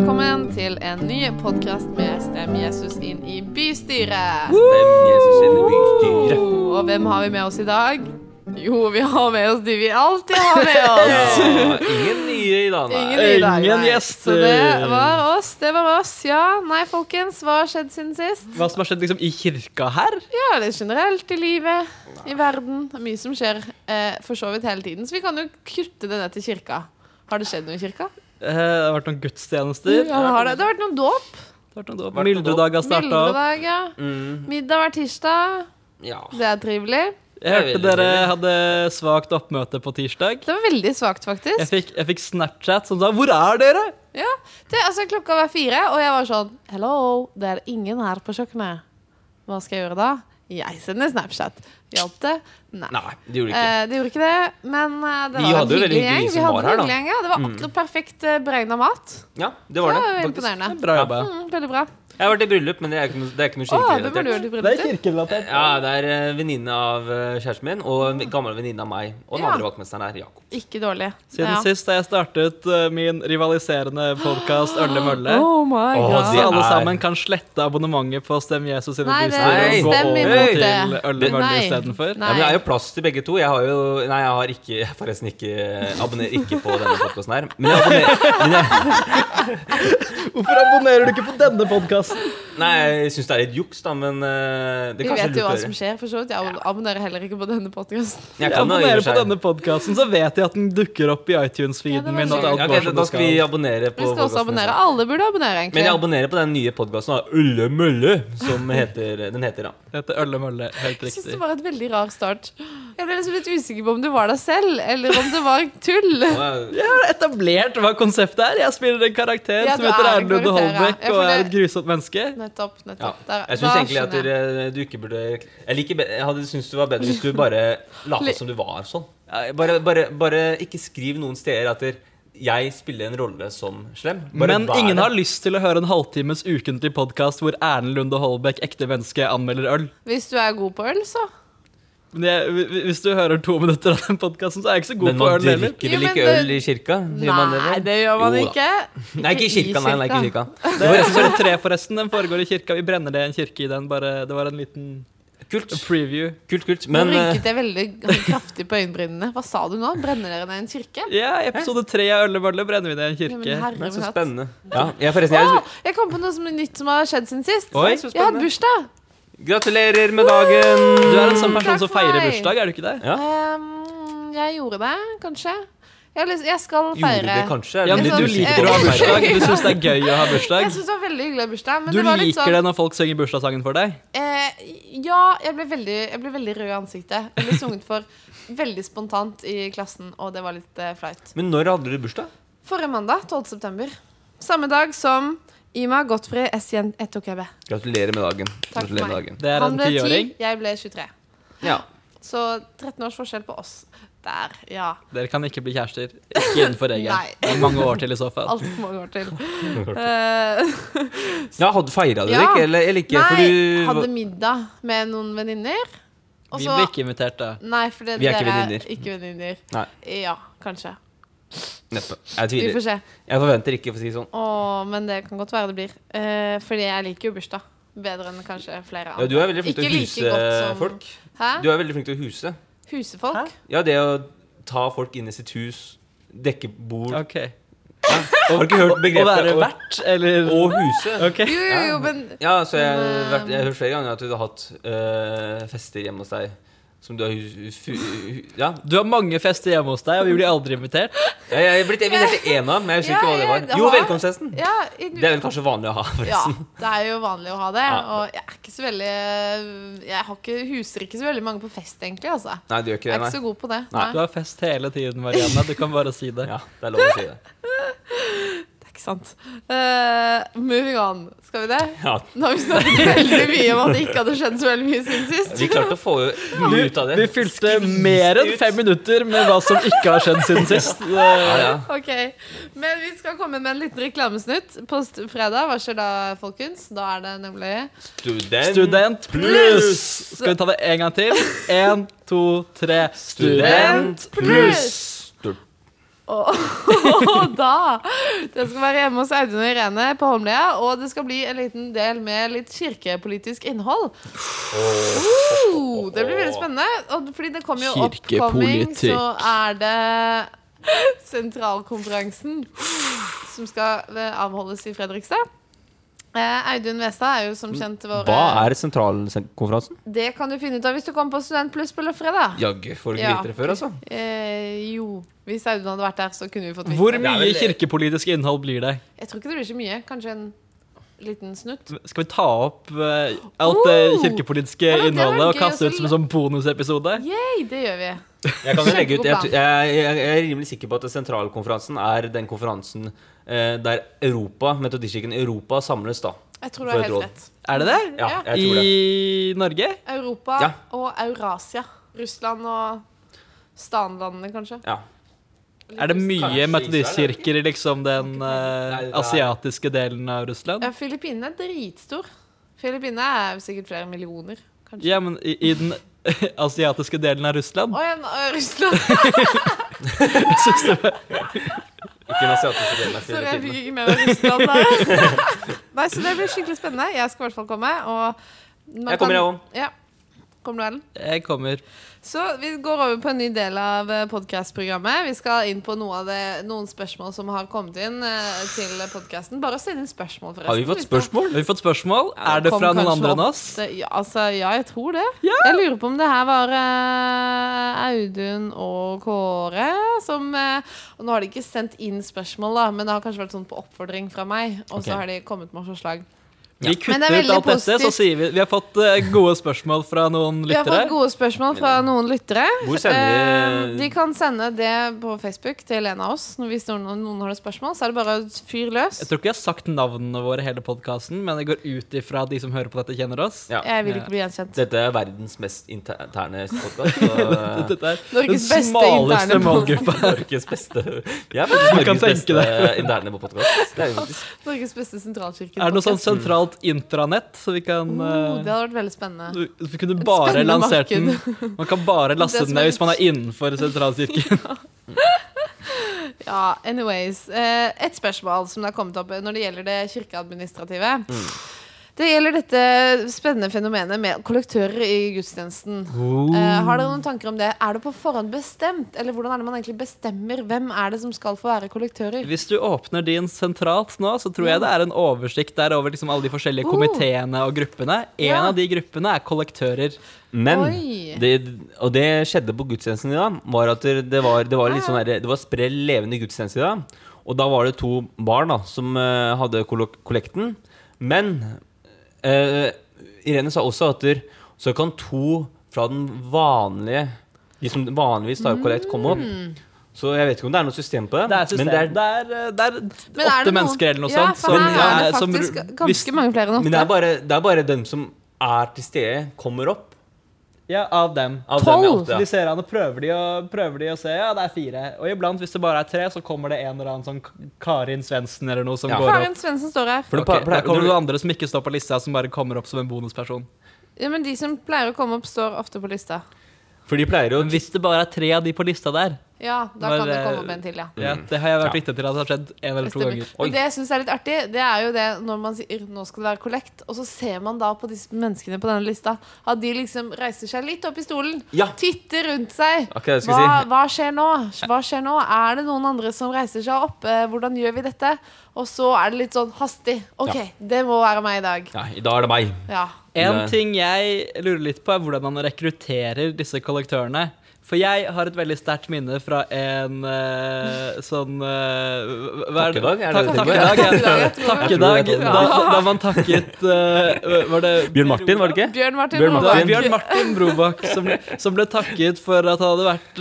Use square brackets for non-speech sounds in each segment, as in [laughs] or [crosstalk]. til en ny podkast med Stem Jesus inn i bystyret. Stem Jesus inn i bystyret. Og hvem har vi med oss i dag? Jo, vi har med oss de vi alltid har med [laughs] oss. [laughs] Ja, ingen nye i dag, Ingen nei. i dag, Ingen nei. gjester. Så det var oss. Det var oss. Ja, nei, folkens, hva har skjedd siden sist? Hva som har skjedd liksom i kirka her? Ja, det er generelt i livet, i verden. Det er Mye som skjer eh, for så vidt hele tiden. Så vi kan jo kutte det ned til kirka. Har det skjedd noe i kirka? Eh, det har vært noen Ja, gudstjenester. det har det. Det har vært noen dåp. Det har vært noen dåp. Vært noen Mildredag har starta opp. Bildedag, ja. Mm, Middag hver tirsdag. ja. Det er trivelig. Jeg hørte Veldig dere trivelig. hadde svakt oppmøte på tirsdag. Det var veldig svakt, faktisk. Jeg fikk, jeg fikk Snapchat som sa 'Hvor er dere?' Ja, det, altså Klokka var fire, og jeg var sånn Hello, det er ingen her på kjøkkenet. Hva skal jeg gjøre da? Jeg sender Snapchat. Hjalp det? Nei. Nei, det gjorde ikke. Eh, det gjorde ikke det, men eh, det Vi var hadde en jo veldig hyggelig hyggelig gjeng. som Vi hadde var en her, da. hyggelig gjeng, ja. Det var akkurat perfekt eh, beregna mat. Ja, det Det var var det. jo faktisk. imponerende. Bra Ja. jobba. Mm, veldig bra. Jeg har vært i bryllup, men det er ikke noe, det er ikke noe Å, hvem har du kirkerelatert. vært i bryllup til? kirkerelatert. Ja, det er eh, venninne av eh, kjæresten min og en gammel venninne av meg. Og den Ja. andre vaktmesteren er Jakob. Ikke dårlig. Siden Ja. sist har jeg startet eh, min rivaliserende podkast Ølle Mølle. Oh my Å, god. Så det- alle er- sammen kan slette abonnementet på Stem Jesus sine Nei, det- bystyrer og gå stem over imot til det. Ølle Mølle Nei. istedenfor. Nei. Ja, men det er jo plass til begge to. Jeg har jo Nei, jeg har ikke jeg har forresten ikke jeg abonnerer ikke på denne podkasten her. Men jeg abonnerer men jeg, Hvorfor abonnerer du ikke på denne podkasten? Nei, jeg syns det er litt juks, da, men eh, det Vi er kanskje vet jo hva lurt å som gjøre. skjer, for så vidt. Jeg abonnerer heller ikke på denne podkasten. Jeg Jeg kan jo i abonnerer og på for seg- denne podkasten, så vet jeg at den dukker opp i Ja, det iTunes-feeden var min. At alt Ja, ok, går da, som da det skal vi skal. abonnere på Vi skal også podcasten. liksom. abonnere. Alle burde abonnere, egentlig. Men jeg abonnerer på den nye podkasten av Ulle Mølle, som heter, den heter. da Det heter Ølle Mølle, helt Jeg synes riktig. det var et veldig rar start. Jeg ble liksom litt usikker på om du var deg selv, eller om det var [laughs] tull. Og jeg- Jeg har etablert hva konseptet er. Jeg spiller en karakter Ja, som du heter er en Erlund karakter, ja. Holbæk Ja, for og er det- et grusomt menneske. Nettopp. Ja. nettopp. Der- Jeg syns da egentlig at skjønner jeg. dere- du ikke burde Jeg, liker, be- jeg hadde syntes det var bedre hvis du bare Li- lot som du var sånn. Ja, Bare, bare, bare ikke skriv noen steder at der jeg spiller en rolle som slem. Bare Men vær ingen det. har lyst til å høre en halvtimes ukentlig podkast hvor Erlend Lunde Holbæk, ekte menneske, anmelder øl. Hvis du er god på øl, så. Men jeg, hvi- hvis du hører to minutter av den podkasten, så er jeg ikke så Men god på man øl heller. drikker Jo, vel men ikke det- øl i kirka? Gjør man det, Nei, vel? det gjør man Jo da. ikke. Nei, ikke i kirka. Nei, nei, ikke i kirka. Det var episode tre, forresten. Den foregår i kirka. Vi brenner det i en kirke i den. Bare, det var en liten Kult, preview. kult, kult. Nå Men eh, rynket jeg veldig kraftig på øyenbrynene. Hva sa du nå? Brenner dere ned en kirke? Ja, episode tre av Øllebølle brenner vi ned i en Ja, men kirke. herre det er min så hatt. spennende. Ja, jeg, forresten, jeg, Å, jeg kom på noe som er nytt som har skjedd siden sist. Oi. jeg har hatt bursdag. gratulerer med dagen! Du er en sånn Takk person som for meg. feirer bursdag, er du ikke det? Ja. Ehm, jeg gjorde det, kanskje. Jeg, har lyst- jeg skal feire. Gjorde det sånn- kanskje? Ja, men du, Jeg du synes- liker å ha bursdag. Du syns det er gøy å ha Jeg bursdag. syns det var veldig hyggelig å ha bursdag. Men Du det var litt liker sånn, det når folk synger bursdagssangen for deg. Eh, ja, jeg ble, veldig, jeg ble veldig rød i ansiktet. Jeg ble sunget for veldig spontant i klassen, og det var litt eh, flaut. Men når hadde du bursdag? Forrige mandag, 12. september. Samme dag som Ima Godfrey Essien Etokebe. Gratulerer med dagen. Takk for Gratulerer med meg. dagen. Det er Han en ble 10, tiåring. jeg ble 23. Ja. Så 13 års forskjell på oss. Der, ja. Dere kan ikke bli kjærester. Ikke innenfor Nei. regelen. Det er mange år til i så fall. Altfor mange [laughs] år til. Eh, ja hadde feira du det Ja. ikke? Eller, eller ikke? nei, for hadde du, middag med noen venninner. Og Vi så ble ikke invitert, da. Nei, for det, Vi er ikke dere venninner. er ikke venninner. Nei. Ja, kanskje. Neppe. Jeg Vi får tviler. se. Jeg forventer ikke, for å si det sånn. Åh, men det kan godt være det blir. Eh, fordi jeg liker jo bursdag bedre enn kanskje flere andre. Ja, du er veldig flink til å Ikke huse like godt som- folk. Hæ? Du er veldig flink til å huse. Husefolk? Ja, det å ta folk inn i sitt hus, dekke bord Ok. Har du ikke hørt Å være begrepet å, vert, eller å huse? Ok. Jo, jo, jo, men Ja, så jeg, har Men, vært- jeg har hørt flere ganger at du har hatt eh, fester hjemme hos deg som du har hu- fu- hu- Ja, Du har mange fester hjemme hos deg, og vi blir aldri invitert. jeg jeg er blitt invitert til én av, men jeg husker Ja, ikke hva det jeg var. Jo, har- velkomstfesten. ja, i, Det er vel kanskje vanlig å ha, [laughs] ja, forresten. det er jo vanlig å ha det. Ja. Og jeg er ikke så veldig Jeg har ikke, huser ikke så veldig mange på fest, egentlig. Altså. Nei, du Jeg gjør ikke er det, ikke så god på det. Nei. Du har fest hele tiden, Marianne. Du kan bare si nei. det. Ja, det er lov å si det. Det er ikke sant. Eh, moving on. Skal vi det? Ja, Nå har vi snakket [laughs] veldig mye om at det ikke hadde skjedd så veldig mye siden sist. vi klarte å få mye ut av Vi det. fylte mer enn fem minutter med hva som ikke har skjedd siden sist. Ja, ja. Ok, Men vi skal komme med en liten reklamesnutt på st- fredag. Hva skjer da, folkens? Da er det nemlig Student. Student pluss! Skal vi ta det en gang til? Én, to, tre. Student Student pluss. pluss. Og, og [laughs] da Det skal være hjemme hos Audun og Irene på Holmlia, og det skal bli en liten del med litt kirkepolitisk innhold. Oh, det blir veldig spennende. Og fordi det kommer jo oppkomming, så er det sentralkonferansen som skal eh, avholdes i Fredrikstad. Eh, Audun Westad er jo som kjent vår Hva er sentralkonferansen? Det kan du finne ut av hvis du kommer på Studentpluss på fredag. Jaggu, får du ikke Ja. vite det før, altså? Eh, jo, hvis Audun hadde vært der, så kunne vi fått vite Hvor det. mye kirkepolitisk innhold blir det? Jeg tror ikke det blir så mye. Kanskje en liten snutt. Skal vi ta opp eh, alt det Oh! kirkepolitiske Ja, det var innholdet og gøy, kaste altså. ut som en sånn bonusepisode? Yay, det gjør vi. Jeg kan jo legge ut jeg, Kjempegod plan. jeg, jeg jeg er rimelig sikker på at sentralkonferansen er den konferansen eh, der Europa, metodistkirken Europa samles, da. Jeg tror du har For et helt råd. rett. Er det det? Ja, Ja. jeg tror det. I Norge? Europa Ja. og Eurasia. Russland og stanlandene, kanskje. Ja. Er det mye Kanskje metodistkirker i liksom den eh, Nei, det er- asiatiske delen av Russland? Ja, Filippinene er dritstor. Filippinene er jo sikkert flere millioner, kanskje. Ja, men i, i den [laughs] asiatiske delen av Russland? Å ja, nå- Russland! Synes du det? Ikke den asiatiske delen [laughs] av Sorry, jeg fikk Filippinene. ikke med meg Russland der. [laughs] Nei, så det blir skikkelig spennende. Jeg skal i hvert fall komme. Og man Jeg kommer, jeg kan- òg. Ja. Kommer du, Ellen? Jeg kommer. Så vi går over på en ny del av eh, podcastprogrammet. Vi skal inn på noe av det, noen spørsmål som har kommet inn eh, til podcasten. Bare send inn spørsmål, forresten. Har vi fått spørsmål? Har vi fått spørsmål? Er det kom fra noen kanskje andre enn opp oss? Det- Ja, altså, ja, jeg tror det. Ja. Jeg lurer på om det her var eh, Audun og Kåre som eh, Og nå har de ikke sendt inn spørsmål, da, men det har kanskje vært sånn på oppfordring fra meg. Og Ok. så har de kommet med forslag. Vi Men det er kutter ut alt veldig dette, så positivt. sier vi Vi har fått eh, gode spørsmål fra noen Vi har lyttere. fått gode spørsmål fra noen lyttere. Hvor sender Eh, vi- De kan sende det på Facebook til en av oss. Når- Hvis noen, noen har noen spørsmål, så er det bare å fyre løs. Jeg tror ikke vi har sagt navnene våre i hele podkasten, men det går ut ifra at de som hører på dette, kjenner oss. Ja. Jeg vil ikke bli gjenkjent. Dette er verdens mest interne podkast. [laughs] [laughs] Dette er Norges den beste smaleste interne målgruppa. Norges beste Jeg er faktisk Du kan Norges tenke beste interne på podkast. Det er jo faktisk [laughs] Norges beste sentralkirke. Er [laughs] det noe sånn sentralt intranett, så vi kan Oh, eh, det hadde vært veldig spennende. du, du kunne bare spennende lansert den [laughs] Man kan bare laste Det den som er ned hvis man litt- er innenfor sentralkirken. Ja, anyways. eh, Et spørsmål som det har kommet opp når det gjelder det kirkeadministrative. Mm. Det gjelder dette spennende fenomenet med kollektører i gudstjenesten. Oh. Eh, har dere noen tanker om det? Er det på forhånd bestemt? Eller hvordan er det man egentlig bestemmer hvem er det som skal få være kollektører? Hvis du åpner din sentralt nå, så tror jeg det er en oversikt der over liksom alle de forskjellige Oh. komiteene og gruppene. En Ja. av de gruppene er kollektører. Men Oi. det, Og det skjedde på gudstjenesten i dag. Var at det var, det var litt sånn der, Det var sprell levende gudstjeneste i dag. Og da var det to barn da som eh, hadde kollok- kollekten. Men eh, Irene sa også at der, så kan to fra den vanlige De som vanligvis tar opp kollekt, komme opp. Så jeg vet ikke om det er noe system på det. Det er system. men det er, det er, eh, det er Men er åtte det noen- mennesker eller noe ja, sånt. for som, her er eh, det som- faktisk ganske hvis- mange flere enn men det er, åtte. bare, det er bare den som er til stede, kommer opp. Ja, av dem. Av den Tolv! åtte, ja. De ser han og prøver de, å, prøver de å se. Ja, det er fire. Og iblant, hvis det bare er tre, så kommer det en eller annen sånn K- Karin Svendsen eller noe som Ja. går opp. Karen Svendsen står her. For det Ok, pleier- da kommer det det- noen andre som ikke står på lista, som bare kommer opp som en bonusperson. Ja, men de som pleier å komme opp, står ofte på lista. For de pleier jo Men hvis det bare er tre av de på lista der, Ja, da Når, kan det eh, komme opp en til, ja. ja, det har jeg vært Ja. vitne til at det har skjedd en eller Det to stemmer. ganger. Og det jeg syns er litt artig, det er jo det når man sier nå skal det være kollekt, og så ser man da på disse menneskene på denne lista at de liksom reiser seg litt opp i stolen, Ja. titter rundt seg. Akkurat det jeg skulle Hva, si. hva skjer nå? Hva skjer nå? Er det noen andre som reiser seg opp? Eh, Hvordan gjør vi dette? Og så er det litt sånn hastig. OK, det må være meg i dag. Ja, i dag er det meg. Ja. En Nei. ting jeg lurer litt på, er hvordan man rekrutterer disse kollektørene. For jeg har et veldig sterkt minne fra en eh, sånn eh, hva er det? Takkedag, er det det du Takk- tenker? Takkedag, ja. Takkedag, jeg tror det. Takkedag, Jeg tror det da, var da man takket eh, Var det Bjørn Martin, var det ikke? Bjørn Martin Bjørn Det var Rollbakk. Martin. Bjørn Martin Brobakk som, som ble takket for at han hadde vært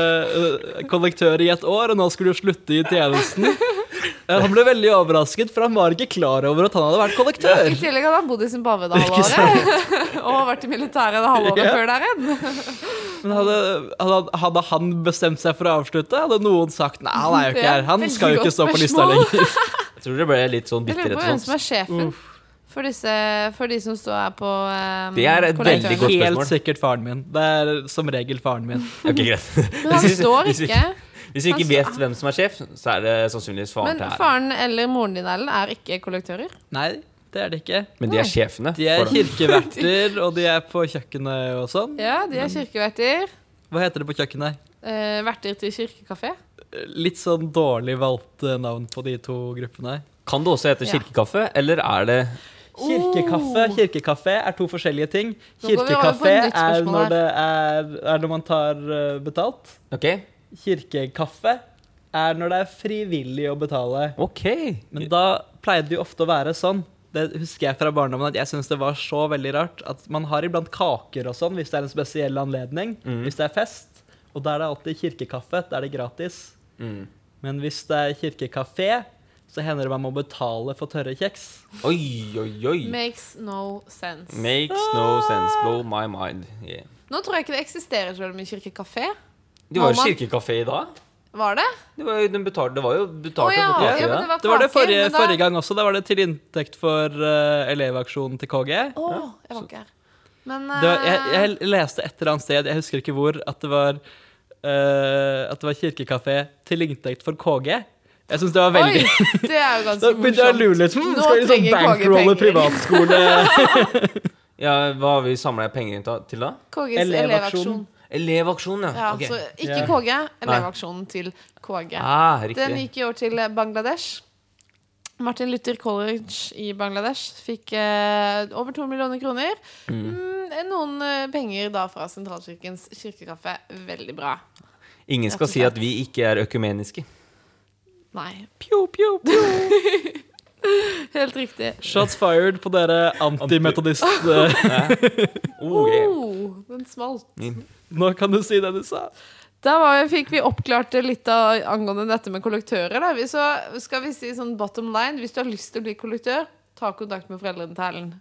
eh, kollektør i et år, og nå skulle jo slutte i tjenesten. Eh, han ble veldig overrasket, for han var ikke klar over at han hadde vært kollektør. I tillegg hadde han bodd i Zimbabwe det halve Ikke året. [laughs] og vært i militæret det halve året Ja. før der igjen. Men hadde, hadde, hadde han bestemt seg for å avslutte, hadde noen sagt nei, han er jo Det ikke er her. Han veldig skal jo godt ikke stå på lista spørsmål. lenger. [laughs] Jeg tror det ble litt sånn Jeg bitter lurer på etter hvem sånt. som er sjefen for, disse, for de som står her på eh, Det er et kollektøren. veldig godt spørsmål. Helt sikkert faren min. Det er som regel faren min. [laughs] Ok, greit. Men [laughs] han [laughs] Hvis vi- står hvis vi- ikke. Hvis vi ikke Han står- vet hvem som er sjef, så er det sannsynligvis faren Men til æren. faren eller moren din Ellen er ikke kollektører. Nei, det er det ikke. Men de er sjefene. De er for det. kirkeverter, og de er på kjøkkenet og sånn. Ja, de er kirkeverter. Hva heter det på kjøkkenet? Eh, verter til kirkekafé. Litt sånn dårlig valgt eh, navn på de to gruppene. Kan det også hete Ja. kirkekaffe, eller er det Kirkekaffe Oh. kirkekaffe er to forskjellige ting. Nå går vi over på Kirkekaffe et nytt er spørsmål her. når, det er, er når man tar eh, betalt. Ok. Kirkekaffe er når det er frivillig å betale. Ok. Men da pleide det jo ofte å være sånn. Det husker jeg fra barndommen at jeg synes det var så veldig rart at man har iblant kaker og sånn hvis det er en spesiell anledning, Mm. hvis det er fest. Og da er det alltid kirkekaffe. Da er det gratis. Mm. Men hvis det er kirkekafé, så hender det man må betale for tørre kjeks. Oi, oi, oi. Makes no sense. Makes no sense. Blow my mind. Yeah. Nå tror jeg ikke det eksisterer så veldig mye kirkekafé. Det var jo Mamma. kirkekafé i dag. Var det? Det var jo, den betalte, det var jo Å betalte ja, for kake, ja, da. men det var Det var det kaker, forrige, men da- forrige gang også. Da var det til inntekt for eh, elevaksjonen til KG. Å, jeg var ikke her. Men Det var, jeg, eh, jeg leste et eller annet sted, jeg husker ikke hvor, at det var, eh, at det var kirkekafé til inntekt for KG. Jeg syns det var veldig eh, Oi, det er jo [laughs] Da ganske begynte jeg å lure litt. Hm, Nå skal vi liksom trenger KG bankrolle penger. privatskole? Ja, Hva har vi samla penger inn ta- til da? KGs elevaksjon. Elevaksjon. Elevaksjon, ja. Ja, Ok. Så ikke Ja. KG, elevaksjonen til KG. ah, Den riktig. gikk i år til Bangladesh. Martin Luther College i Bangladesh fikk eh, over to millioner kroner. Mm, noen eh, penger da fra Sentralkirkens kirkekaffe. Veldig bra. Ingen skal si at vi ikke er økumeniske. Nei, Pjo, pjo, pjo. helt riktig. Shots fired på dere antimetodist... eh, [laughs] Uh, Oh, yeah. Oh, den smalt. Nå kan du si det du sa. Da var, vi- fikk vi oppklart litt av, angående dette med kollektører. Da. Vi, så skal vi si sånn bottom line Hvis du har lyst til å bli kollektør, ta kontakt med foreldrene til Erlend.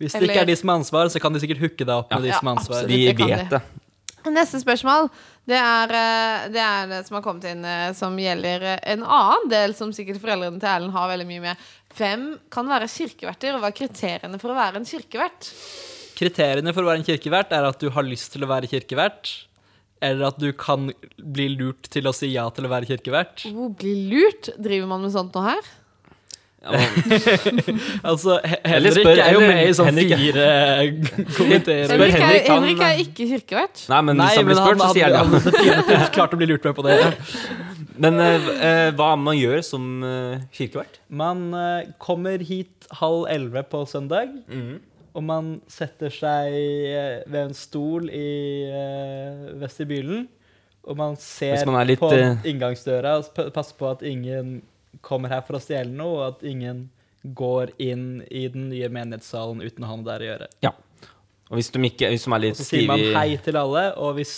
Hvis det ikke Eller- er de som har ansvar, så kan de sikkert hooke deg opp med de Ja, som har ansvar. absolutt. Vi Det kan vet det. Neste spørsmål det er, eh, det er det som har kommet inn, eh, som gjelder eh, en annen del som sikkert foreldrene til Erlend har veldig mye med. Hvem kan være kirkeverter, og hva er kriteriene for å være en kirkevert? Kriteriene for å være en kirkevert er at du har lyst til å være kirkevert, eller at du kan bli lurt til å si ja til å være kirkevert. Hvor blir lurt? Driver man med sånt nå her? Ja, men- Altså, He- Eller Henrik spør- er jo eller med i sånn Henrik er- [laughs] fire komiteer. Henrik er, Henrik, han- Henrik er ikke kirkevert. [laughs] Nei, men hvis han blir spurt, så sier han ja. hadde definitivt klart å bli lurt med på det. Men eh, eh, hva man gjør som eh, kirkevert? Man eh, kommer hit halv elleve på søndag, og man setter seg eh, ved en stol i eh, vestibylen, og man ser Hvis man er litt, på eh, inngangsdøra og p- passer på at ingen kommer her for å stjele noe, og at ingen går inn i den nye menighetssalen uten å ha noe der å gjøre. Og hvis de, ikke, hvis de er litt Så sier stive man i hei til alle, og hvis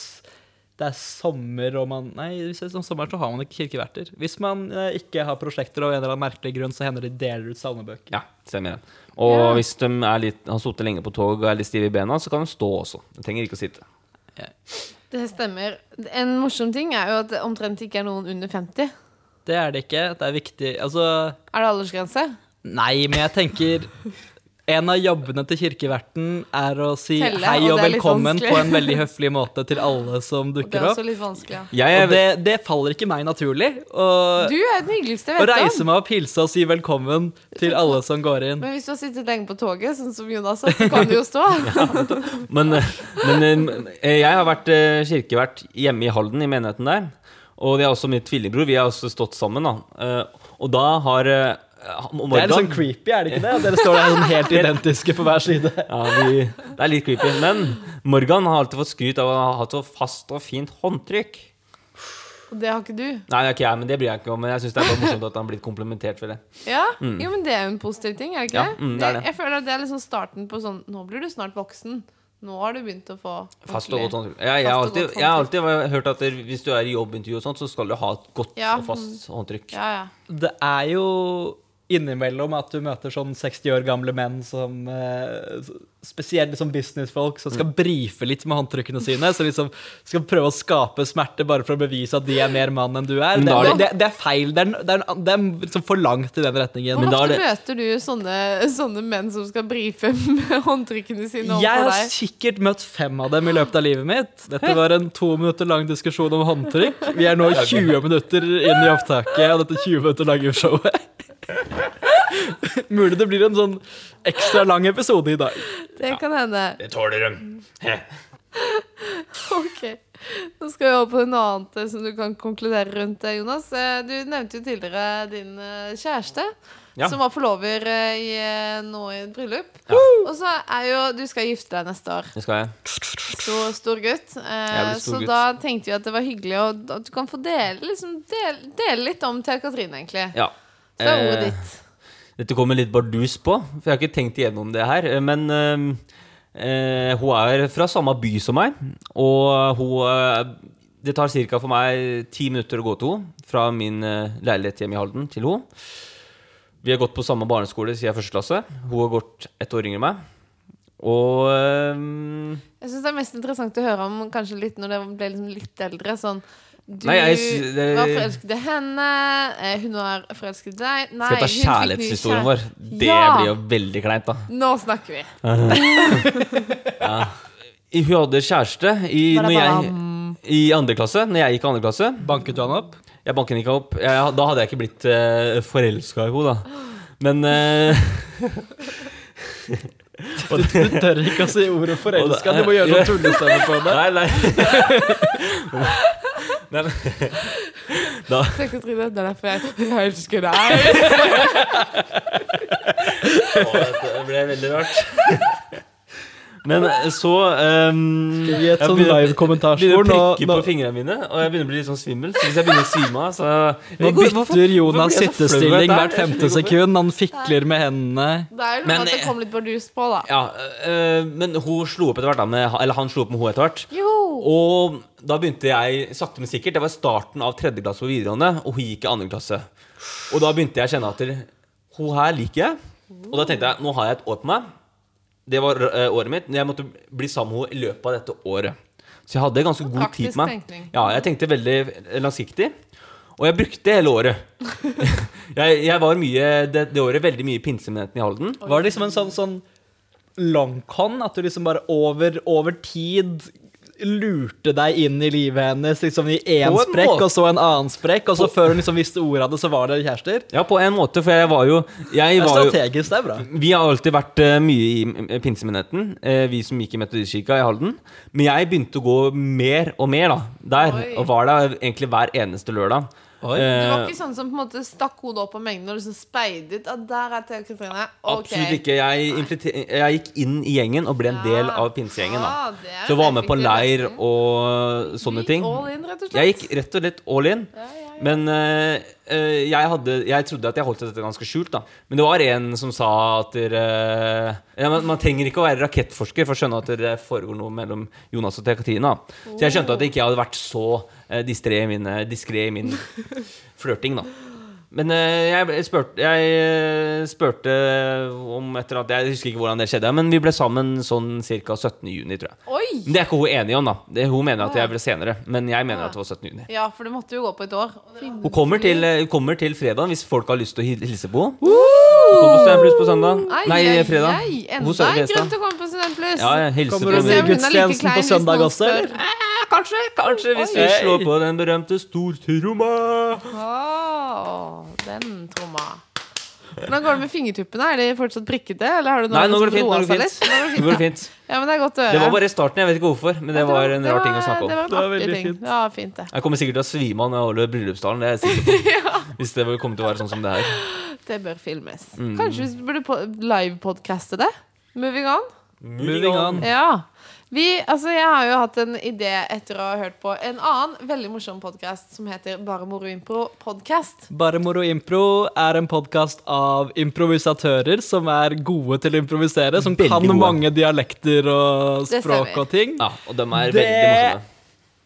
det er sommer og man Nei, hvis det er sånn sommer, så har man ikke kirkeverter. Hvis man eh, ikke har prosjekter av en eller annen merkelig grunn, så hender det de deler ut salmebøker. Ja, stemmer det. Og Ja. hvis de er litt, har sittet lenge på tog og er litt stive i bena, så kan de stå også. De trenger ikke å sitte. Det stemmer. En morsom ting er jo at det omtrent ikke er noen under 50. Det er det ikke. Det er viktig Altså, Er det aldersgrense? nei, men jeg tenker en av jobbene til kirkeverten er å si Telle, hei og og det er litt velkommen vanskelig. på en veldig høflig måte til alle som Det dukker er opp. også litt vanskelig. Ja. Jeg er, Og det, det faller ikke meg naturlig å, Du er den hyggeligste Eh, å jeg vet reise om. meg opp, hilse og si velkommen til alle som går inn. Men hvis du har sittet lenge på toget, sånn som Jonas, sa, så kan du jo stå. [laughs] men, men eh, jeg har vært eh, kirkevert hjemme i Halden, i menigheten der. Og det er også min tvillingbror. Vi har også stått sammen, da. Eh, Og da har eh, om Det er litt morgenen- sånn creepy, er det ikke det? At dere står der sånn [laughs] helt identiske på hver side. Ja, vi, det er litt creepy. Men Morgan har alltid fått skryt av å ha hatt så fast og fint håndtrykk. Og det har ikke du. Nei, det er ikke jeg, men det bryr jeg ikke om. Men jeg syns det er bare morsomt at han har blitt komplimentert for det. Ja, jo, men det er jo en positiv ting, er det ikke Mm. Ja, det? mm, det er det. Jeg føler at det er liksom starten på sånn Nå blir du snart voksen. Nå har du begynt å få Fast og ordentlig- godt håndtrykk. Jeg, jeg, Fast har og alltid, godt jeg har alltid hørt at det- hvis du er i jobbintervju og sånt, så skal du ha et godt Ja. og fast håndtrykk. Ja, ja. Det er jo innimellom at du møter sånn 60 år gamle menn som eh, Spesielt liksom businessfolk som skal brife litt med håndtrykkene sine. Som liksom skal prøve å skape smerte bare for å bevise at de er mer mann enn du er. Men Det, da det, er det, er feil. Det er, en- det er, en- det er liksom for langt i den retningen. Hvor da ofte er det- møter du sånne, sånne menn som skal brife med håndtrykkene sine Jeg overfor har deg? sikkert møtt fem av dem i løpet av livet mitt. Dette var en to minutter lang diskusjon om håndtrykk. Vi er nå 20 minutter inn i opptaket av dette 20 minutter lange showet. Mulig det blir en sånn ekstra lang episode i dag. Det kan hende. Det tåler dem. Ok. Nå skal vi over på noe annet eh, som du kan konkludere rundt, eh, Jonas. Eh, Du nevnte jo tidligere din eh, kjæreste. Ja. Som var forlover eh, i, eh, nå i et bryllup. Ja. Og så er jo Du skal gifte deg neste år. Det skal jeg. Stor, stor gutt. Eh, blir stor så gutt. da tenkte vi at det var hyggelig å, at du kan få dele, liksom, dele, dele litt om Thea Katrine, egentlig. Ja. Så det er ordet Eh, ditt. Dette kommer litt bardus på, for jeg har ikke tenkt igjennom det her. Men eh, eh, hun er fra samme by som meg, og hun eh, Det tar ca. for meg ti minutter å gå til henne fra min eh, leilighet hjemme i Halden til henne. Vi har gått på samme barneskole siden første klasse. Hun har gått ett år yngre enn meg. Og eh, Jeg syns det er mest interessant å høre om kanskje litt når dere ble liksom litt eldre. Sånn du Nei, jeg sy- det- var forelsket i henne, eh, hun var forelsket i deg Nei, skal jeg ta hun fikk ny kjærlighetshistorien kjære- vår? Det Ja! blir jo veldig kleint, da. Nå snakker vi. Hun hadde kjæreste i, når jeg, Badabam. i andre klasse, når jeg gikk i andre klasse. Banket du han opp? Jeg banket ikke opp. Jeg, da hadde jeg ikke blitt uh, forelska i henne, da. Men eh, [laughs] Du, du tør ikke å si ordet forelska. Du må gjøre noen tullestemme på det. Nei, [laughs] nei. nei, nei. Tenk å tro det. Det er derfor jeg, [laughs] jeg elsker deg. Å, dette ble veldig rart. Men eh, så um, Gi et sånn begynner å live-kommentarspor. Nå, prikke nå, på fingrene mine, og jeg begynner å bli litt sånn svimmel. Så hvis jeg begynner å svime av, så nå bytter Jonas hvorfor blir jeg så flau over sittestilling dette her? hvert femte sekund. Han fikler med hendene. Det er jo noe Men- med at det kom litt bardus på, da. Ja, eh, men hun slo opp etter hvert, da, med, eller han slo opp med henne etter hvert. Jo. Og da begynte jeg sakte, men sikkert. Det var starten av tredje klasse på videregående, og hun gikk i andre klasse. Og da begynte jeg å kjenne at hun her liker jeg. Og da tenkte jeg nå har jeg et år på meg. Det var eh, året mitt. Jeg måtte bli sammen med henne i løpet av dette året. Så jeg hadde ganske god Praktisk tid på meg. tenkning. Ja, jeg tenkte veldig eh, langsiktig. Og jeg brukte hele året. [laughs] jeg, jeg var mye, det, det året veldig mye i pinsemenigheten i Halden. Var det liksom en sånn, sånn longcon? At du liksom bare over, over tid lurte deg inn i livet hennes liksom i én På en sprekk måte. og så en annen sprekk, og så før hun liksom visste ordet av det, så var dere kjærester? Ja, på en måte, for jeg var jo jeg Det er var jo, strategisk, det er bra. Vi har alltid vært eh, mye i eh, pinsemenigheten, eh, vi som gikk i Metodistkirka i Halden. Men jeg begynte å gå mer og mer da, der, Oi. og var der egentlig hver eneste lørdag. Oi. Du Eh, var ikke sånn som på en måte stakk hodet opp av mengden og liksom speidet. Ah, der er Thea Katrine. Ok. Absolutt ikke. Jeg, infiltre- jeg gikk inn i gjengen og ble en del Ja. av pinsegjengen. da. Ah, det er Så jeg var med på effektiv leir løsning. og sånne Be ting. All in, rett og slett. Jeg gikk rett og slett all in. Ja, ja, ja. Men eh, eh, jeg, hadde, jeg trodde at jeg holdt dette ganske skjult. da Men det var en som sa at dere eh, ja, man, man trenger ikke å være rakettforsker for å skjønne at det foregår noe mellom Jonas og Thea Katrine. da. Så jeg skjønte at ikke jeg hadde vært så eh, distré i min, diskré [laughs] i min flørting. da men eh, jeg spurte, jeg eh, spurte om etter at Jeg husker ikke hvordan det skjedde, men vi ble sammen sånn ca. 17.6, tror jeg. Men Oi! Det er ikke hun enig om, da. Det, hun mener at jeg ble senere. Men jeg mener at det var 17. juni. Ja, for det måtte jo gå på et år. Hun kommer til, eh, hun kommer til fredag hvis folk har lyst til å hil- hilse på henne. Hun kommer på Steinbluss på søndag. Ai, Nei, ai, fredag. ai, Hun Enda sover i en grunn Vestad. til å komme på Studentpluss. Ja, jeg hilser Kommer på hun Se i om henne. hun er like gudstjenesten klein på hvis søndag noen også? spør. eller? Kanskje, kanskje, hvis vi Oi. slår på den berømte stortromma. Åh, den tromma. Hvordan går det med fingertuppene? Er de fortsatt prikkete? Eller har du Nei, nå går det fint. Nå roet går det seg litt? fint. Nå går det Nå fint, går det fint. ja. ja, men det er godt å høre. Det var bare i starten, jeg vet ikke hvorfor. Men det var en rar ting å snakke Det om. var Det var en artig veldig ting. fint. Ja, fint det. Jeg kommer sikkert til å svime av når jeg holder bryllupsdagen. Det er jeg [laughs] sikker på. Hvis det kommer til å være sånn som det her. Det bør filmes. Mm. Kanskje vi burde på- live-podcaste det? Moving on? Moving on. Ja. Vi, altså, jeg har jo hatt en idé etter å ha hørt på en annen veldig morsom podkast som heter Bare moro impro podcast. Bare Moro Impro er en podkast av improvisatører som er gode til å improvisere, som Veldig kan gode. mange dialekter og Det språk stemmer. og ting. Ja, og de er Det- veldig morsomme.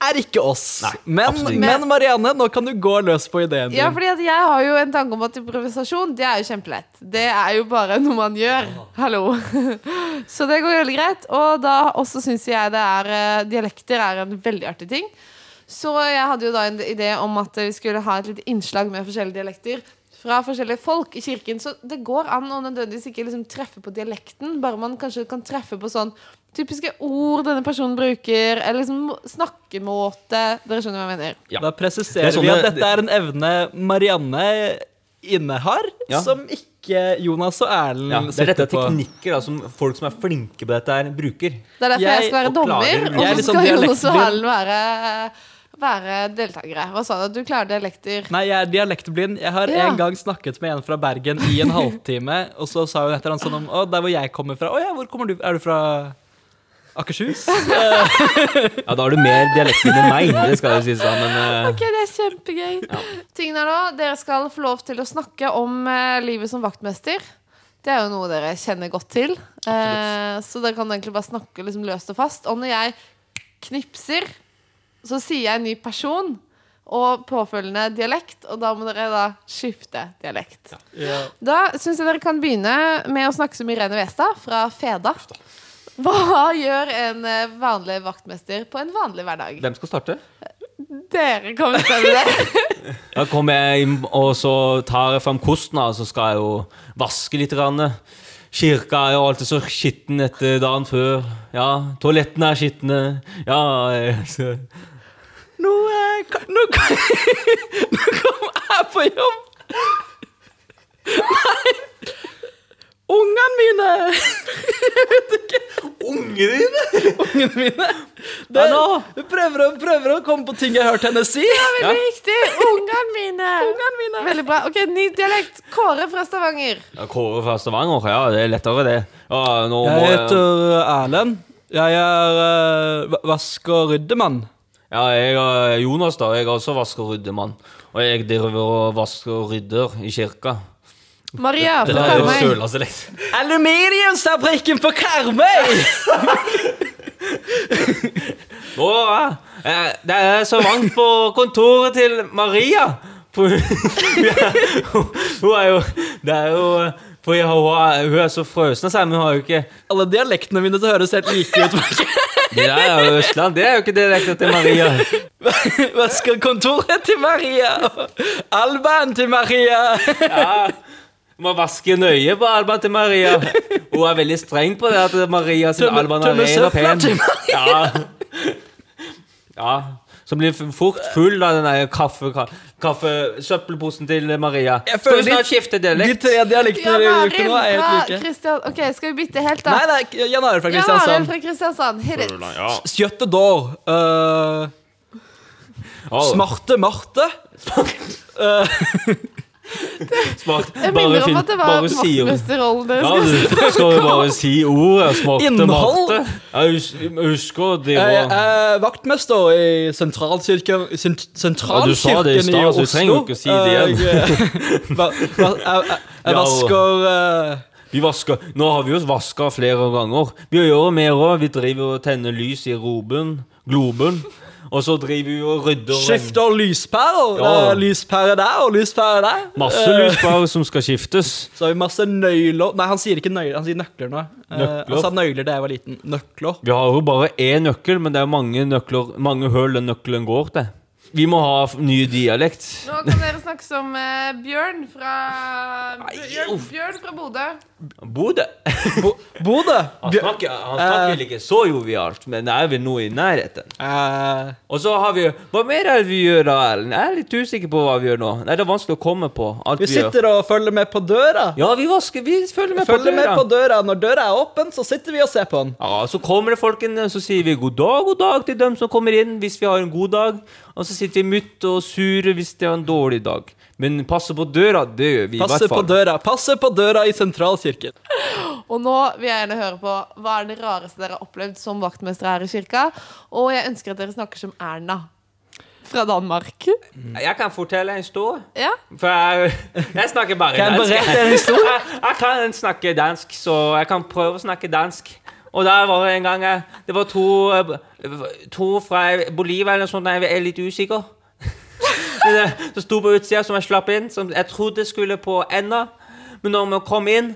er ikke oss. Nei, men, absolutt ikke. men Marianne, nå kan du gå løs på ideen din. Ja, fordi at jeg har jo en tanke om at improvisasjon, det er jo kjempelett. Det er jo bare noe man gjør. Hallo. [laughs] Så det går veldig greit. Og da også syns jeg det er eh, Dialekter er en veldig artig ting. Så jeg hadde jo da en idé om at vi skulle ha et lite innslag med forskjellige dialekter. Fra forskjellige folk i kirken. Så det går an å nødvendigvis ikke liksom treffe på dialekten, bare man kanskje kan treffe på sånn typiske ord denne personen bruker, eller liksom snakkemåte. Dere skjønner hva jeg mener. Ja. Da presiserer Det er sånne- vi at dette er en evne Marianne innehar, Ja. som ikke Jonas og Erlend Ja, det er dette sitter er på. teknikker da, som folk som er flinke på dette, her bruker. Det er derfor jeg, Jeg skal være og klarer- dommer, og jeg er så litt sånn skal Jonas og Hallen dialektblind. være, være deltakere. Hva sa du? Du klarer dialekter. Nei, jeg er dialektblind. Jeg har Ja. en gang snakket med en fra Bergen [laughs] i en halvtime, og så sa hun et eller annet sånn om Å, der hvor jeg kommer fra. Å ja, hvor kommer du Er du fra [laughs] Akershus? Ja, da har du mer dialekter enn meg, det skal jo sies da, men eh, Ok, det er kjempegøy. Tingen er nå, Dere skal få lov til å snakke om eh, livet som vaktmester. Det er jo noe dere kjenner godt til. Eh, så dere kan egentlig bare snakke liksom, løst og fast. Og når jeg knipser, så sier jeg en ny person og påfølgende dialekt, og da må dere da skifte dialekt. ja. Da syns jeg dere kan begynne med å snakke som Irene Westad fra Feda. Hva gjør en eh, vanlig vaktmester på en vanlig hverdag? hvem skal starte? Dere kan bestemme det. Da kommer jeg inn, og så tar jeg fram kosten, og så skal jeg jo vaske litt. Grann. Kirka er jo alltid så skitten etter dagen før. Ja, toalettene er skitne. Ja, eh, så. Nå, eh, ka- nå, ka- [laughs] nå kom jeg på jobb! Nei! Ungene mine! Ungene dine! Ungene [laughs] mine. Det, Ja, nå. du prøver, å- prøver å komme på ting jeg har hørt henne si. Ja. Veldig riktig. [laughs] Ungene mine. Veldig bra. Ok, Ny dialekt. Kåre fra Stavanger. Ja, Kåre fra Stavanger, ja, det er lettere, det. Ja, nå må Jeg jeg, heter eh, Erlend. Jeg er eh, va- vask- og ryddemann. ja, jeg er Jonas, da. Jeg er også vasker og ryddemann. Og jeg driver og vasker og rydder i kirka. Maria Det fra er jo Karmøy. sørlandsdialekt. Aluminiumsfabrikken på Karmøy! Nå, ja. Eh, Det er så varmt på kontoret til Maria. For hun, [laughs] hun er jo Det er jo For jeg, hun, er, hun er så frøsen, sier hun. Hun har jo ikke [laughs] Alle dialektene mine det høres helt like ut. [laughs] Det der er jo Østland. Det er jo ikke direkte til Maria. Vaskekontoret til Maria. Alban til Maria. Ja. Du må vaske nøye på albaen til Maria. Hun er veldig streng på det at Maria sin Tømme- alban er tømme ren og søpla pen. til Ja. ja. Som blir f- fort full av den der kaffe, ka- kaffesøppelposen til Maria. Skal Jeg føler du snart de- skifte De dialekt? tre dialektene Jan dere brukte Arild nå, er fra helt like. Kristian... Ok, skal vi bytte helt, Nei, da? det er Jan Arild fra Jan Arild Kristiansand. fra Kristiansand. Hit it. Ja. Skjøtte dår. eh, smarte Marte. Smart. Jeg Bare minner om finn at det var Bare si ordet. vaktmesterrollen dere Ja, skulle du skal jo bare si ordet. Smarte Innhold. Marte. Ja, hus- husk å Jeg Eh, drive og er Eh, vaktmester i sentralkirken, sent, Ja, sentralkirken du sa det i i stad, så Oslo. Eh, du trenger jo ikke å si det igjen. Jeg, eh, [laughs] va, va, jeg, jeg, Ja, jeg og- vasker eh, Vi vasker, Nå har vi jo vaska flere ganger. Vi gjør mer òg. Vi driver og tenner lys i roben, globen. Og så driver vi og rydder og renner. Skifter lyspærer. Ja. Eh, Lyspære der og lyspære der. Masse Eh, lyspærer som skal skiftes. Så har vi masse nøyler Nei, han sier ikke nøyler, han sier nøkler nå. Eh, Nøkler? han sa nøyler da jeg var liten. Nøkler. Vi har jo bare én nøkkel, men det er mange nøkler Mange høl den nøkkelen går til. Vi må ha f- ny dialekt. Nå kan dere snakke som eh, Bjørn fra Bjørn, Bjørn fra Bodø. Bodø Bo- Bodø. [laughs] Han Bjør- snakker, han Øh. snakker vel ikke så jovialt, men det er vel noe i nærheten. Eh, Og så har vi jo Hva mer er det vi gjør da, Erlend? Jeg er litt usikker på hva vi gjør nå. Nei, det er vanskelig å komme på alt vi vi, gjør. sitter og følger med på døra. Ja, vi vasker. Vi følger med Følger på med døra. på døra. Når døra er åpen, så sitter vi og ser på den. Ja, Så kommer det folk inn, så sier vi god dag, god dag til dem som kommer inn. hvis vi har en god dag. Og så sitter vi mutt og sure hvis det er en dårlig dag. Men passe på døra, det gjør vi i Passer hvert på fall. døra. Passer på døra i sentralkirken. Og nå vil jeg gjerne høre på hva er det rareste dere har opplevd som vaktmester her i kirka. Og jeg ønsker at dere snakker som Erna fra Danmark. Jeg kan fortelle en historie. Ja, For jeg, jeg snakker bare Kan jeg dansk. [laughs] berette en historie? Jeg, jeg kan snakke dansk, så jeg kan prøve å snakke dansk. Og der var det en gang eh, Det var to, eh, to fra Bolivia eller noe sånt, jeg er litt usikker. Men det- Som sto på utsida, som jeg slapp inn. Som jeg trodde skulle på enda. Men når vi kom inn,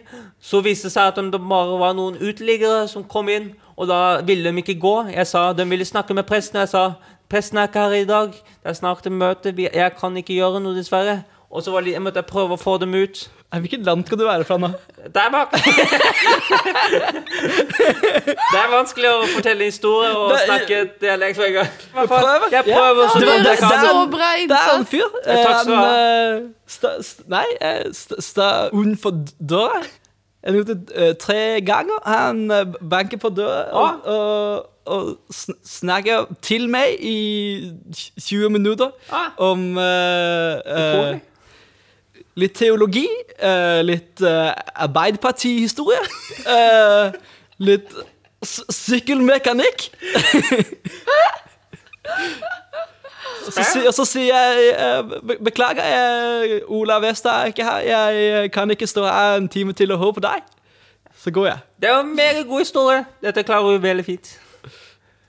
så viste det seg at det bare var noen uteliggere som kom inn. Og da ville de ikke gå. Jeg sa de ville snakke med presten. Jeg sa presten er ikke her i dag. Det er snart et møte. Vi- Jeg kan ikke gjøre noe, dessverre. Og så var det, jeg måtte jeg prøve å få dem ut. Nei, Hvilket land skal du være fra nå? Der bak! [laughs] det er vanskelig å fortelle historier og Det- snakke dialekt hver gang. Prøv. Jeg prøver så Du Det var- gjør godt jeg det det- det kan. så er- bra Det er en innsats. fyr. Ja, takk skal du ha. En, eh, sta, st, nei, eh, sta, sta utenfor døra. Jeg lurte eh, tre ganger. Han eh, banker på døra og, Ah. og, og sn- snakker til meg i tj- 20 minutter Ah. om eh, eh, litt teologi, eh, litt eh, Arbeiderparti-historie, eh, litt s sykkelmekanikk. Og så si- Og så sier jeg eh, be- Beklager, jeg, Ola Westad er ikke her. Jeg eh, kan ikke stå her en time til og høre på deg. Så går jeg. Det er jo en meget god historie. Dette klarer hun veldig fint.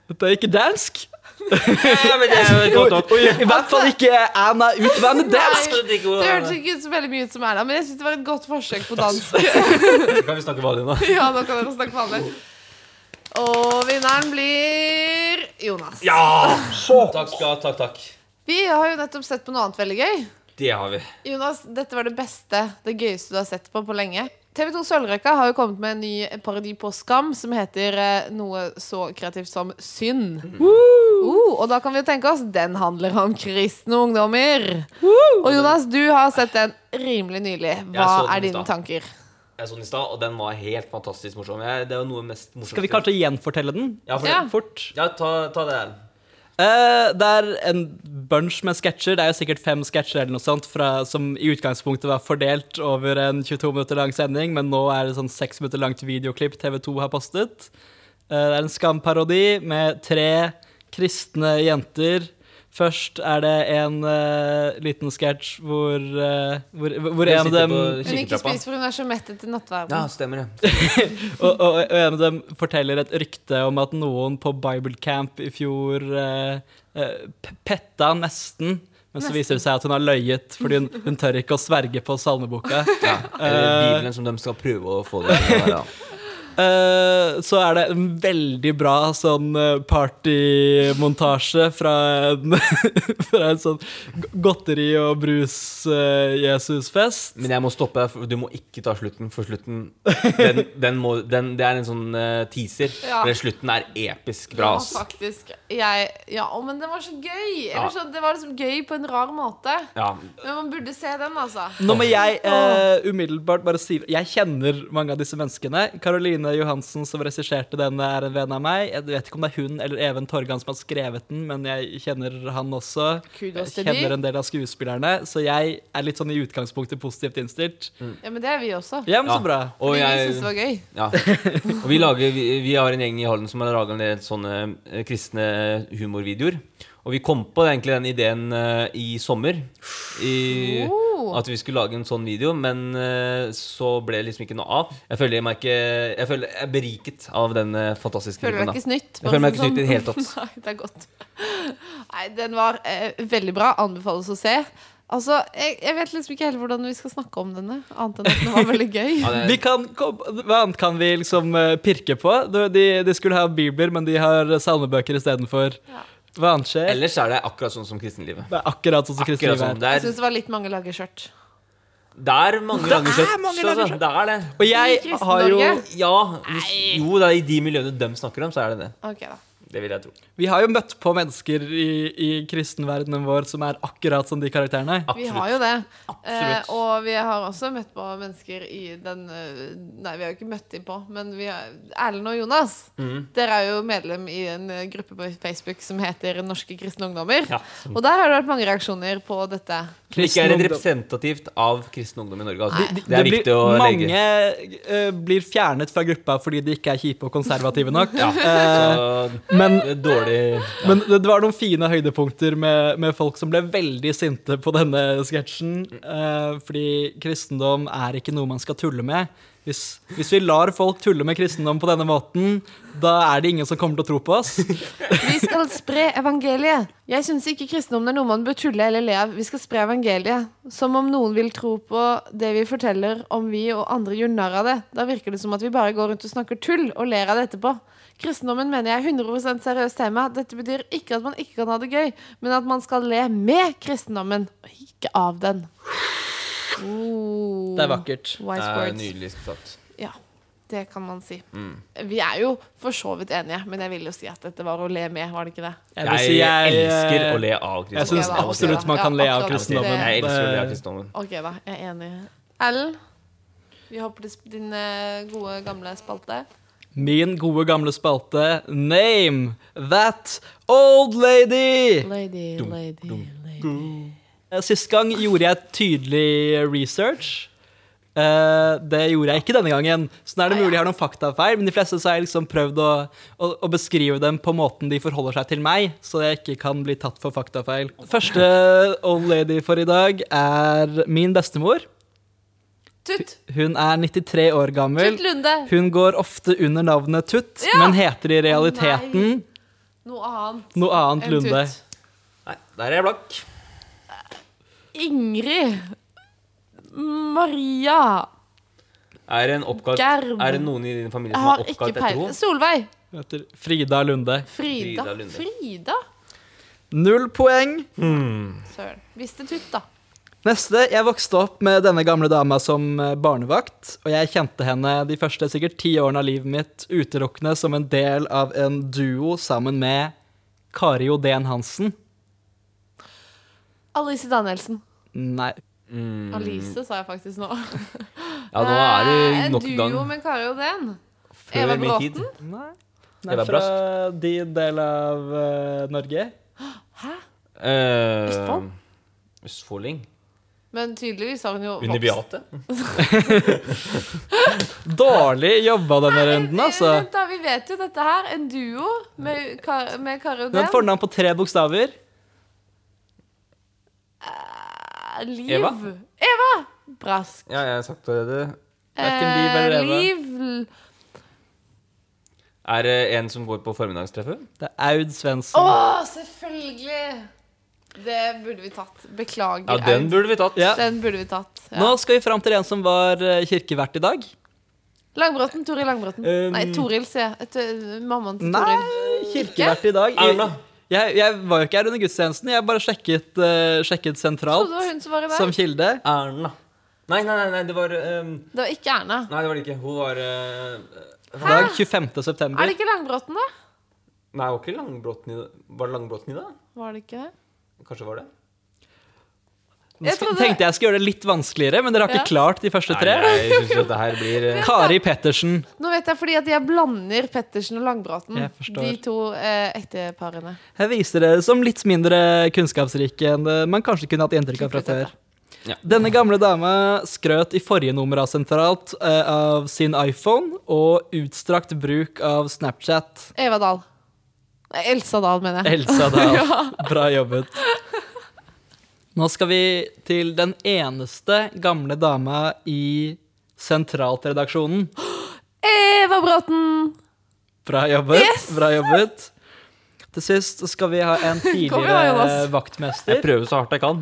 Dette er ikke dansk. Ja, men det er jo [laughs] godt nok. I hvert fall ikke Erna Utvannet dansk. Absolutt ikke Det ordet. hørtes ikke ut så veldig mye ut som Erna, men jeg synes det var et godt forsøk på dans. Kan vi snakke vanlig [laughs] nå? Ja, nå kan dere snakke vanlig. Og vinneren blir Jonas. Takk skal Takk, takk. Vi har jo nettopp sett på noe annet veldig gøy. Det har vi. Jonas, dette var det beste, det gøyeste du har sett på på lenge. TV 2 Sølvrøyka har jo kommet med en ny parodi på Skam som heter eh, noe så kreativt som Synd. Mhm. Uh, og da kan vi jo tenke oss den handler om kristne ungdommer. Og Jonas, du har sett den rimelig nylig. Hva så den er i dine stad. tanker? Jeg så den i stad, og den var helt fantastisk morsom. Jeg, det er jo noe mest morsomt. Skal vi kanskje gjenfortelle den? Ja, for, Ja. Fort. ja ta, ta det. Eh, det er en bunch med sketsjer. Det er jo sikkert fem sketsjer eller noe sånt fra, som i utgangspunktet var fordelt over en 22 minutter lang sending, men nå er det sånn seks minutter langt videoklipp TV2 har postet. Eh, det er en skamparodi med tre kristne jenter. Først er det en eh, liten sketsj hvor, eh, hvor, hvor en av sitter dem på Hun ikke kirketrappa. spiser for hun er så mett etter nattverden. Ja, stemmer det. og, og, og en av dem forteller et rykte om at noen på Bibelcamp i fjor eh, eh, p- petta nesten. Men så viser det seg at hun har løyet, fordi hun, hun tør ikke å sverge på salmeboka. [laughs] Ja. Eller Bibelen som de skal prøve å få det til å være. Eh, så er det en veldig bra sånn eh, partymontasje fra en, [laughs] fra en sånn go- godteri- og eh, brus-Jesus-fest. Men jeg må stoppe deg, for du må ikke ta slutten, for slutten den, den må, den, Det er en sånn eh, teaser. Ja. Men slutten er episk bra, ass. Ja, faktisk. Jeg, ja, å, men den var så gøy! Ja. Eller sånn, det var liksom gøy på en rar måte. Ja. Men man burde se den, altså. Nå må jeg eh, umiddelbart bare si Jeg kjenner mange av disse menneskene. Caroline Johansen, som regisserte den, er en venn av meg. Jeg vet ikke om det er hun eller Even Torgan som har skrevet den, men jeg kjenner han også. Kudos til de. jeg kjenner en del av skuespillerne, så jeg er litt sånn i utgangspunktet positivt innstilt. Ja, men det er vi også. Ja, men Mm. Ja. så bra. Og Fordi vi jeg syntes det var gøy. ja. Og vi, lager, vi, vi har en gjeng i Halden som har laga en del sånne eh, kristne humorvideoer. Og vi kom på egentlig den ideen eh, i sommer. I, Oh. At vi skulle lage en sånn video, men eh, så ble det liksom ikke noe av. Jeg føler meg ikke Jeg føler jeg er beriket av den eh, fantastiske Føler deg videoen. da. ikke snytt? Jeg føler meg Bare ikke snytt i det hele sånn- tatt. [laughs] Nei, det er godt. Nei, den var eh, veldig bra. Anbefales å se. Altså, jeg, jeg vet liksom ikke helt hvordan vi skal snakke om denne, annet enn at den var veldig [laughs] gøy. Ja, det- Vi kan, kom, hva annet kan vi liksom eh, pirke på? De, de- de skulle ha bibler, men de har salmebøker istedenfor. Ja. Hva annet skjer? Ellers er det akkurat sånn som kristenlivet. Det er akkurat sånn som Akkurat Kristin sånn. er. Det Jeg er, syns det var litt mange lager skjørt. det er mange lange skjørt. altså. Det er det. Og jeg I har jo Kristen-Norge. Ja, hvis, jo, det er i de miljøene de snakker om, så er det det. Ok, da. Det vil jeg tro. Vi har jo møtt på mennesker i, i kristenverdenen vår som er akkurat som de karakterene. Vi har jo det. Eh, Absolutt. og vi har også møtt på mennesker i den eh, Nei, vi har jo ikke møtt dem på, men vi har, Erlend og Jonas, Mm. dere er jo medlem i en eh, gruppe på Facebook som heter Norske kristne ungdommer. Ja. Og der har det vært mange reaksjoner på dette. Som ikke er Kristen ungdom. representativt av kristen ungdom i Norge. Nei. Altså. Det er blir- viktig å mange legge. eh, blir fjernet fra gruppa fordi de ikke er kjipe og konservative [laughs] nok. [laughs] Ja, så Eh, Men, det er dårlig men det det var noen fine høydepunkter med, med folk som ble veldig sinte på denne sketsjen. eh, fordi kristendom er ikke noe man skal tulle med. Hvis, hvis vi lar folk tulle med kristendom på denne måten, da er det ingen som kommer til å tro på oss. Vi skal spre evangeliet. Jeg syns ikke kristendommen er noe man bør tulle eller le av. Vi skal spre evangeliet. Som om noen vil tro på det vi forteller om vi og andre gjør narr av det. Da virker det som at vi bare går rundt og snakker tull og ler av det etterpå. Kristendommen mener jeg er 100 seriøst tema. Dette betyr ikke at man ikke kan ha det gøy, men at man skal le med kristendommen, og ikke av den. Oh. Det er vakkert. Wise Eh, words. Nydelig sagt. Ja, det kan man si. Mm. Vi er jo for så vidt enige, men jeg vil jo si at dette var å le med, var det ikke det? Jeg, vil Jeg, si jeg- eh, elsker å le av kristendommen. Jeg syns Ja, da, absolutt Eh, ok, man da. kan le av Ja, absolutt. kristendommen. Jeg elsker å le av kristendommen. Ok, da. Jeg er enig. Ellen, vi hopper til sp- din eh, gode, gamle spalte. Min gode gamle spalte Name that old lady! Lady, lady, lady. Sist gang gjorde jeg tydelig research. Eh, det gjorde jeg ikke denne gangen. Så nå er det mulig jeg har noen faktafeil, men de fleste så har jeg liksom prøvd å, å, å beskrive dem på måten de forholder seg til meg, så jeg ikke kan bli tatt for faktafeil. Første old lady for i dag er min bestemor. Tutt! Hun er 93 år gammel. Tutt Lunde! Hun går ofte under navnet Tutt, Ja! men heter i realiteten Noe annet noe annet enn Lunde. Tutt. Nei, der er jeg blakk. Ingrid. Maria. Er det, en oppkalt, Gerb. er det noen i din familie Jeg som har er ikke oppkalt etter peiling. henne? Solveig. Heter Frida Lunde. Frida. Frida Lunde. Frida? Null poeng. Søren. Visste Tutt, da. Neste. Jeg vokste opp med denne gamle dama som eh, barnevakt, og jeg kjente henne de første sikkert ti årene av livet mitt utelukkende som en del av en duo sammen med Kari Odén Hansen. Alice Danielsen. Nei. Mm. Alice, sa jeg faktisk nå. Ja, nå er det Eh, nok en gang Duo med Kari Odén. før Eva min Bråten? tid. Nei. Det var Nei, fra din del av eh, Norge. Hæ? Eh, Østfold? Østfolding? Men tydeligvis har hun jo vokst. Unibiate? Dårlig jobba denne runden, altså. Eh, Vent da, Vi vet jo dette her. En duo med, Kar med Kari Hun har et Odén. fornavn på tre bokstaver. Eh, Liv. Eva? Eva! Brask. Ja, jeg har sagt det. Hverken Liv eller Eva. Liv l- Er det en som går på formiddagstreffet? Det er Aud Å, Svendsen. selvfølgelig! Det burde vi tatt. Beklager. Ja, den Aud. burde vi tatt. Ja. den burde vi tatt. Ja. Nå skal vi fram til en som var eh, kirkevert i dag. Langbråten. Toril Langbråten. Um, Nei, Toril, sier jeg. Et, eh, Mammaen til Nei, Toril. kirkevert i dag. I- Erna. Jeg, jeg var jo ikke her under gudstjenesten. Jeg bare sjekket, eh, sjekket Trodde det var sentralt hun som var i som vei. kilde. Erna. Nei, nei, nei, nei, det var ehm, Det var ikke Erna. Nei, det var det ikke. Hun var eh, Dag 25. Er september. det ikke Langbråten, da? Nei, var ikke Langbråten i det? Var det Langbråten i det? Var det ikke det? Kanskje var det? Nå Jeg sk- trodde- tenkte jeg skulle gjøre det litt vanskeligere, men dere har ikke klart de første tre. Nei, jeg syns dette her blir eh, Kari Pettersen. Nå vet jeg fordi at jeg blander Pettersen og Langbråten. Jeg forstår. De to eh, ekteparene. Jeg viser dere som litt mindre kunnskapsrike enn eh, man kanskje kunne hatt inntrykk av fra før. Ja. Denne gamle dama skrøt i forrige nummer av Sentralt eh, av sin iPhone og utstrakt bruk av Snapchat. Eva Dahl. Nei, Elsa Dahl, mener jeg. Elsa [laughs] Dahl, bra jobbet. Nå skal vi til den eneste gamle dama i Sentralt-redaksjonen. Eva Bråten! Bra jobbet. Yes! bra jobbet. Til sist skal vi ha [laughs] en tidligere Jonas. vaktmester. Jeg prøver så hardt jeg kan.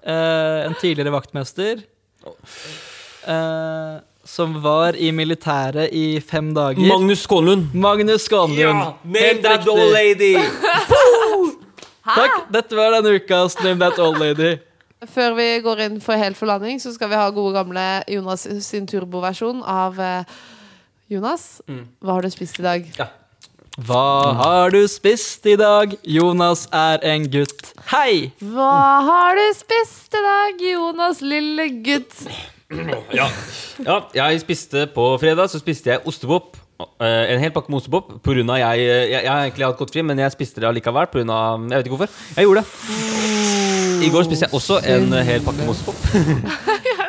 Eh, en tidligere vaktmester eh, som var i militæret i fem dager. Magnus Skånlund. Magnus Skånlund. Name Helt that riktig. old lady! Takk. Dette var denne ukas Name That Old Lady. Før vi går inn for helt forlanding, så skal vi ha gode gamle Jonas sin turboversjon av eh, Jonas, Mm. hva har du spist i dag? Ja. Hva har du spist i dag? Jonas er en gutt. Hei! Hva har du spist i dag, Jonas lille gutt? [laughs] Ja. ja, jeg spiste på fredag Så spiste jeg ostepop Eh, En hel pakke med ostepop På grunn av jeg, eh, jeg, jeg har egentlig hatt godt fri Men jeg spiste det allikevel På grunn av, jeg vet ikke hvorfor Jeg gjorde det I går spiste jeg også en hel pakke med ostepop Er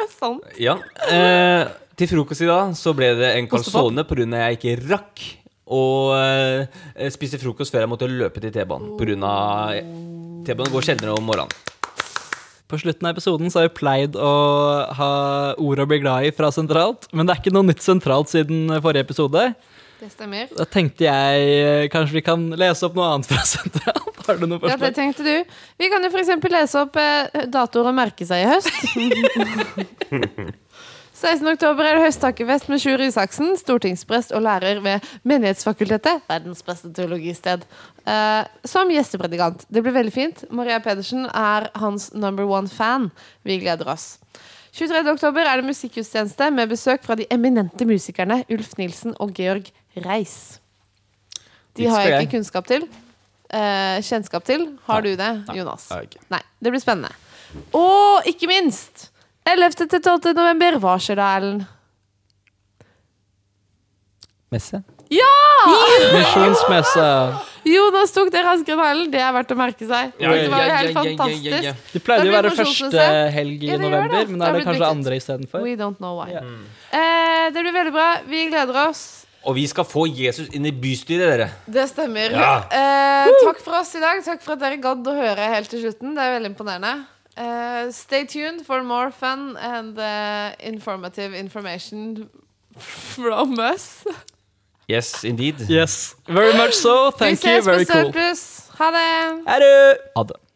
det sant? Ja eh, Til frokost i dag så ble det en calzone På grunn av jeg ikke rakk Og eh, spiste frokost før jeg måtte løpe til T-banen På grunn av T-banen går sjeldnere om morgenen På slutten av episoden så har vi pleid å ha ord å bli glad i fra sentralt, men det er ikke noe nytt sentralt siden forrige episode. Det stemmer. Da tenkte jeg eh, kanskje vi kan lese opp noe annet fra [laughs] sentralt. Har du noe Ja, det forslag? tenkte du. Vi kan jo f.eks. lese opp eh, datoer og merke seg i [laughs] høst. 16. oktober er det høsttakkefest med Sjur Isaksen, stortingsprest og lærer ved Menighetsfakultetet, verdens beste teologisted, eh, som gjestepredikant. Det blir veldig fint. Maria Pedersen er hans number one fan. Vi gleder oss. 23. oktober er det musikkgudstjeneste med besøk fra de eminente musikerne Ulf Nilsen og Georg Reis. De Dit har skal jeg jeg. ikke kunnskap til. eh, kjennskap til. Har du Nei. det, Nei, Jonas? det har jeg ikke. Nei. Det blir spennende. Og ikke minst 11. til 12. november. Hva skjer da, Ellen? Messe? [laughs] Misjonsmesse. Jonas tok det raskere enn Ellen. Det er verdt å merke seg. Ja, det var jo ja, helt ja, ja, ja, fantastisk. ja, ja. Det pleide Det jo å blir være misjonsmesse. første helg i Ja, det gjør november, det. men da er Det det har blitt kanskje byttet. andre istedenfor. We don't know why. Ja. Eh, det blir veldig bra. Vi gleder oss. Og vi skal få Jesus inn i bystyret, dere. Det stemmer. Ja. Eh, takk for oss i dag. Takk for at dere gadd å høre helt til slutten. Det er veldig imponerende. Eh, stay tuned for more fun and eh, informative information from us. Yes, indeed. Yes, very much so. Thank Vi you, ses på very cool. Surplus. Ha det. Ha det!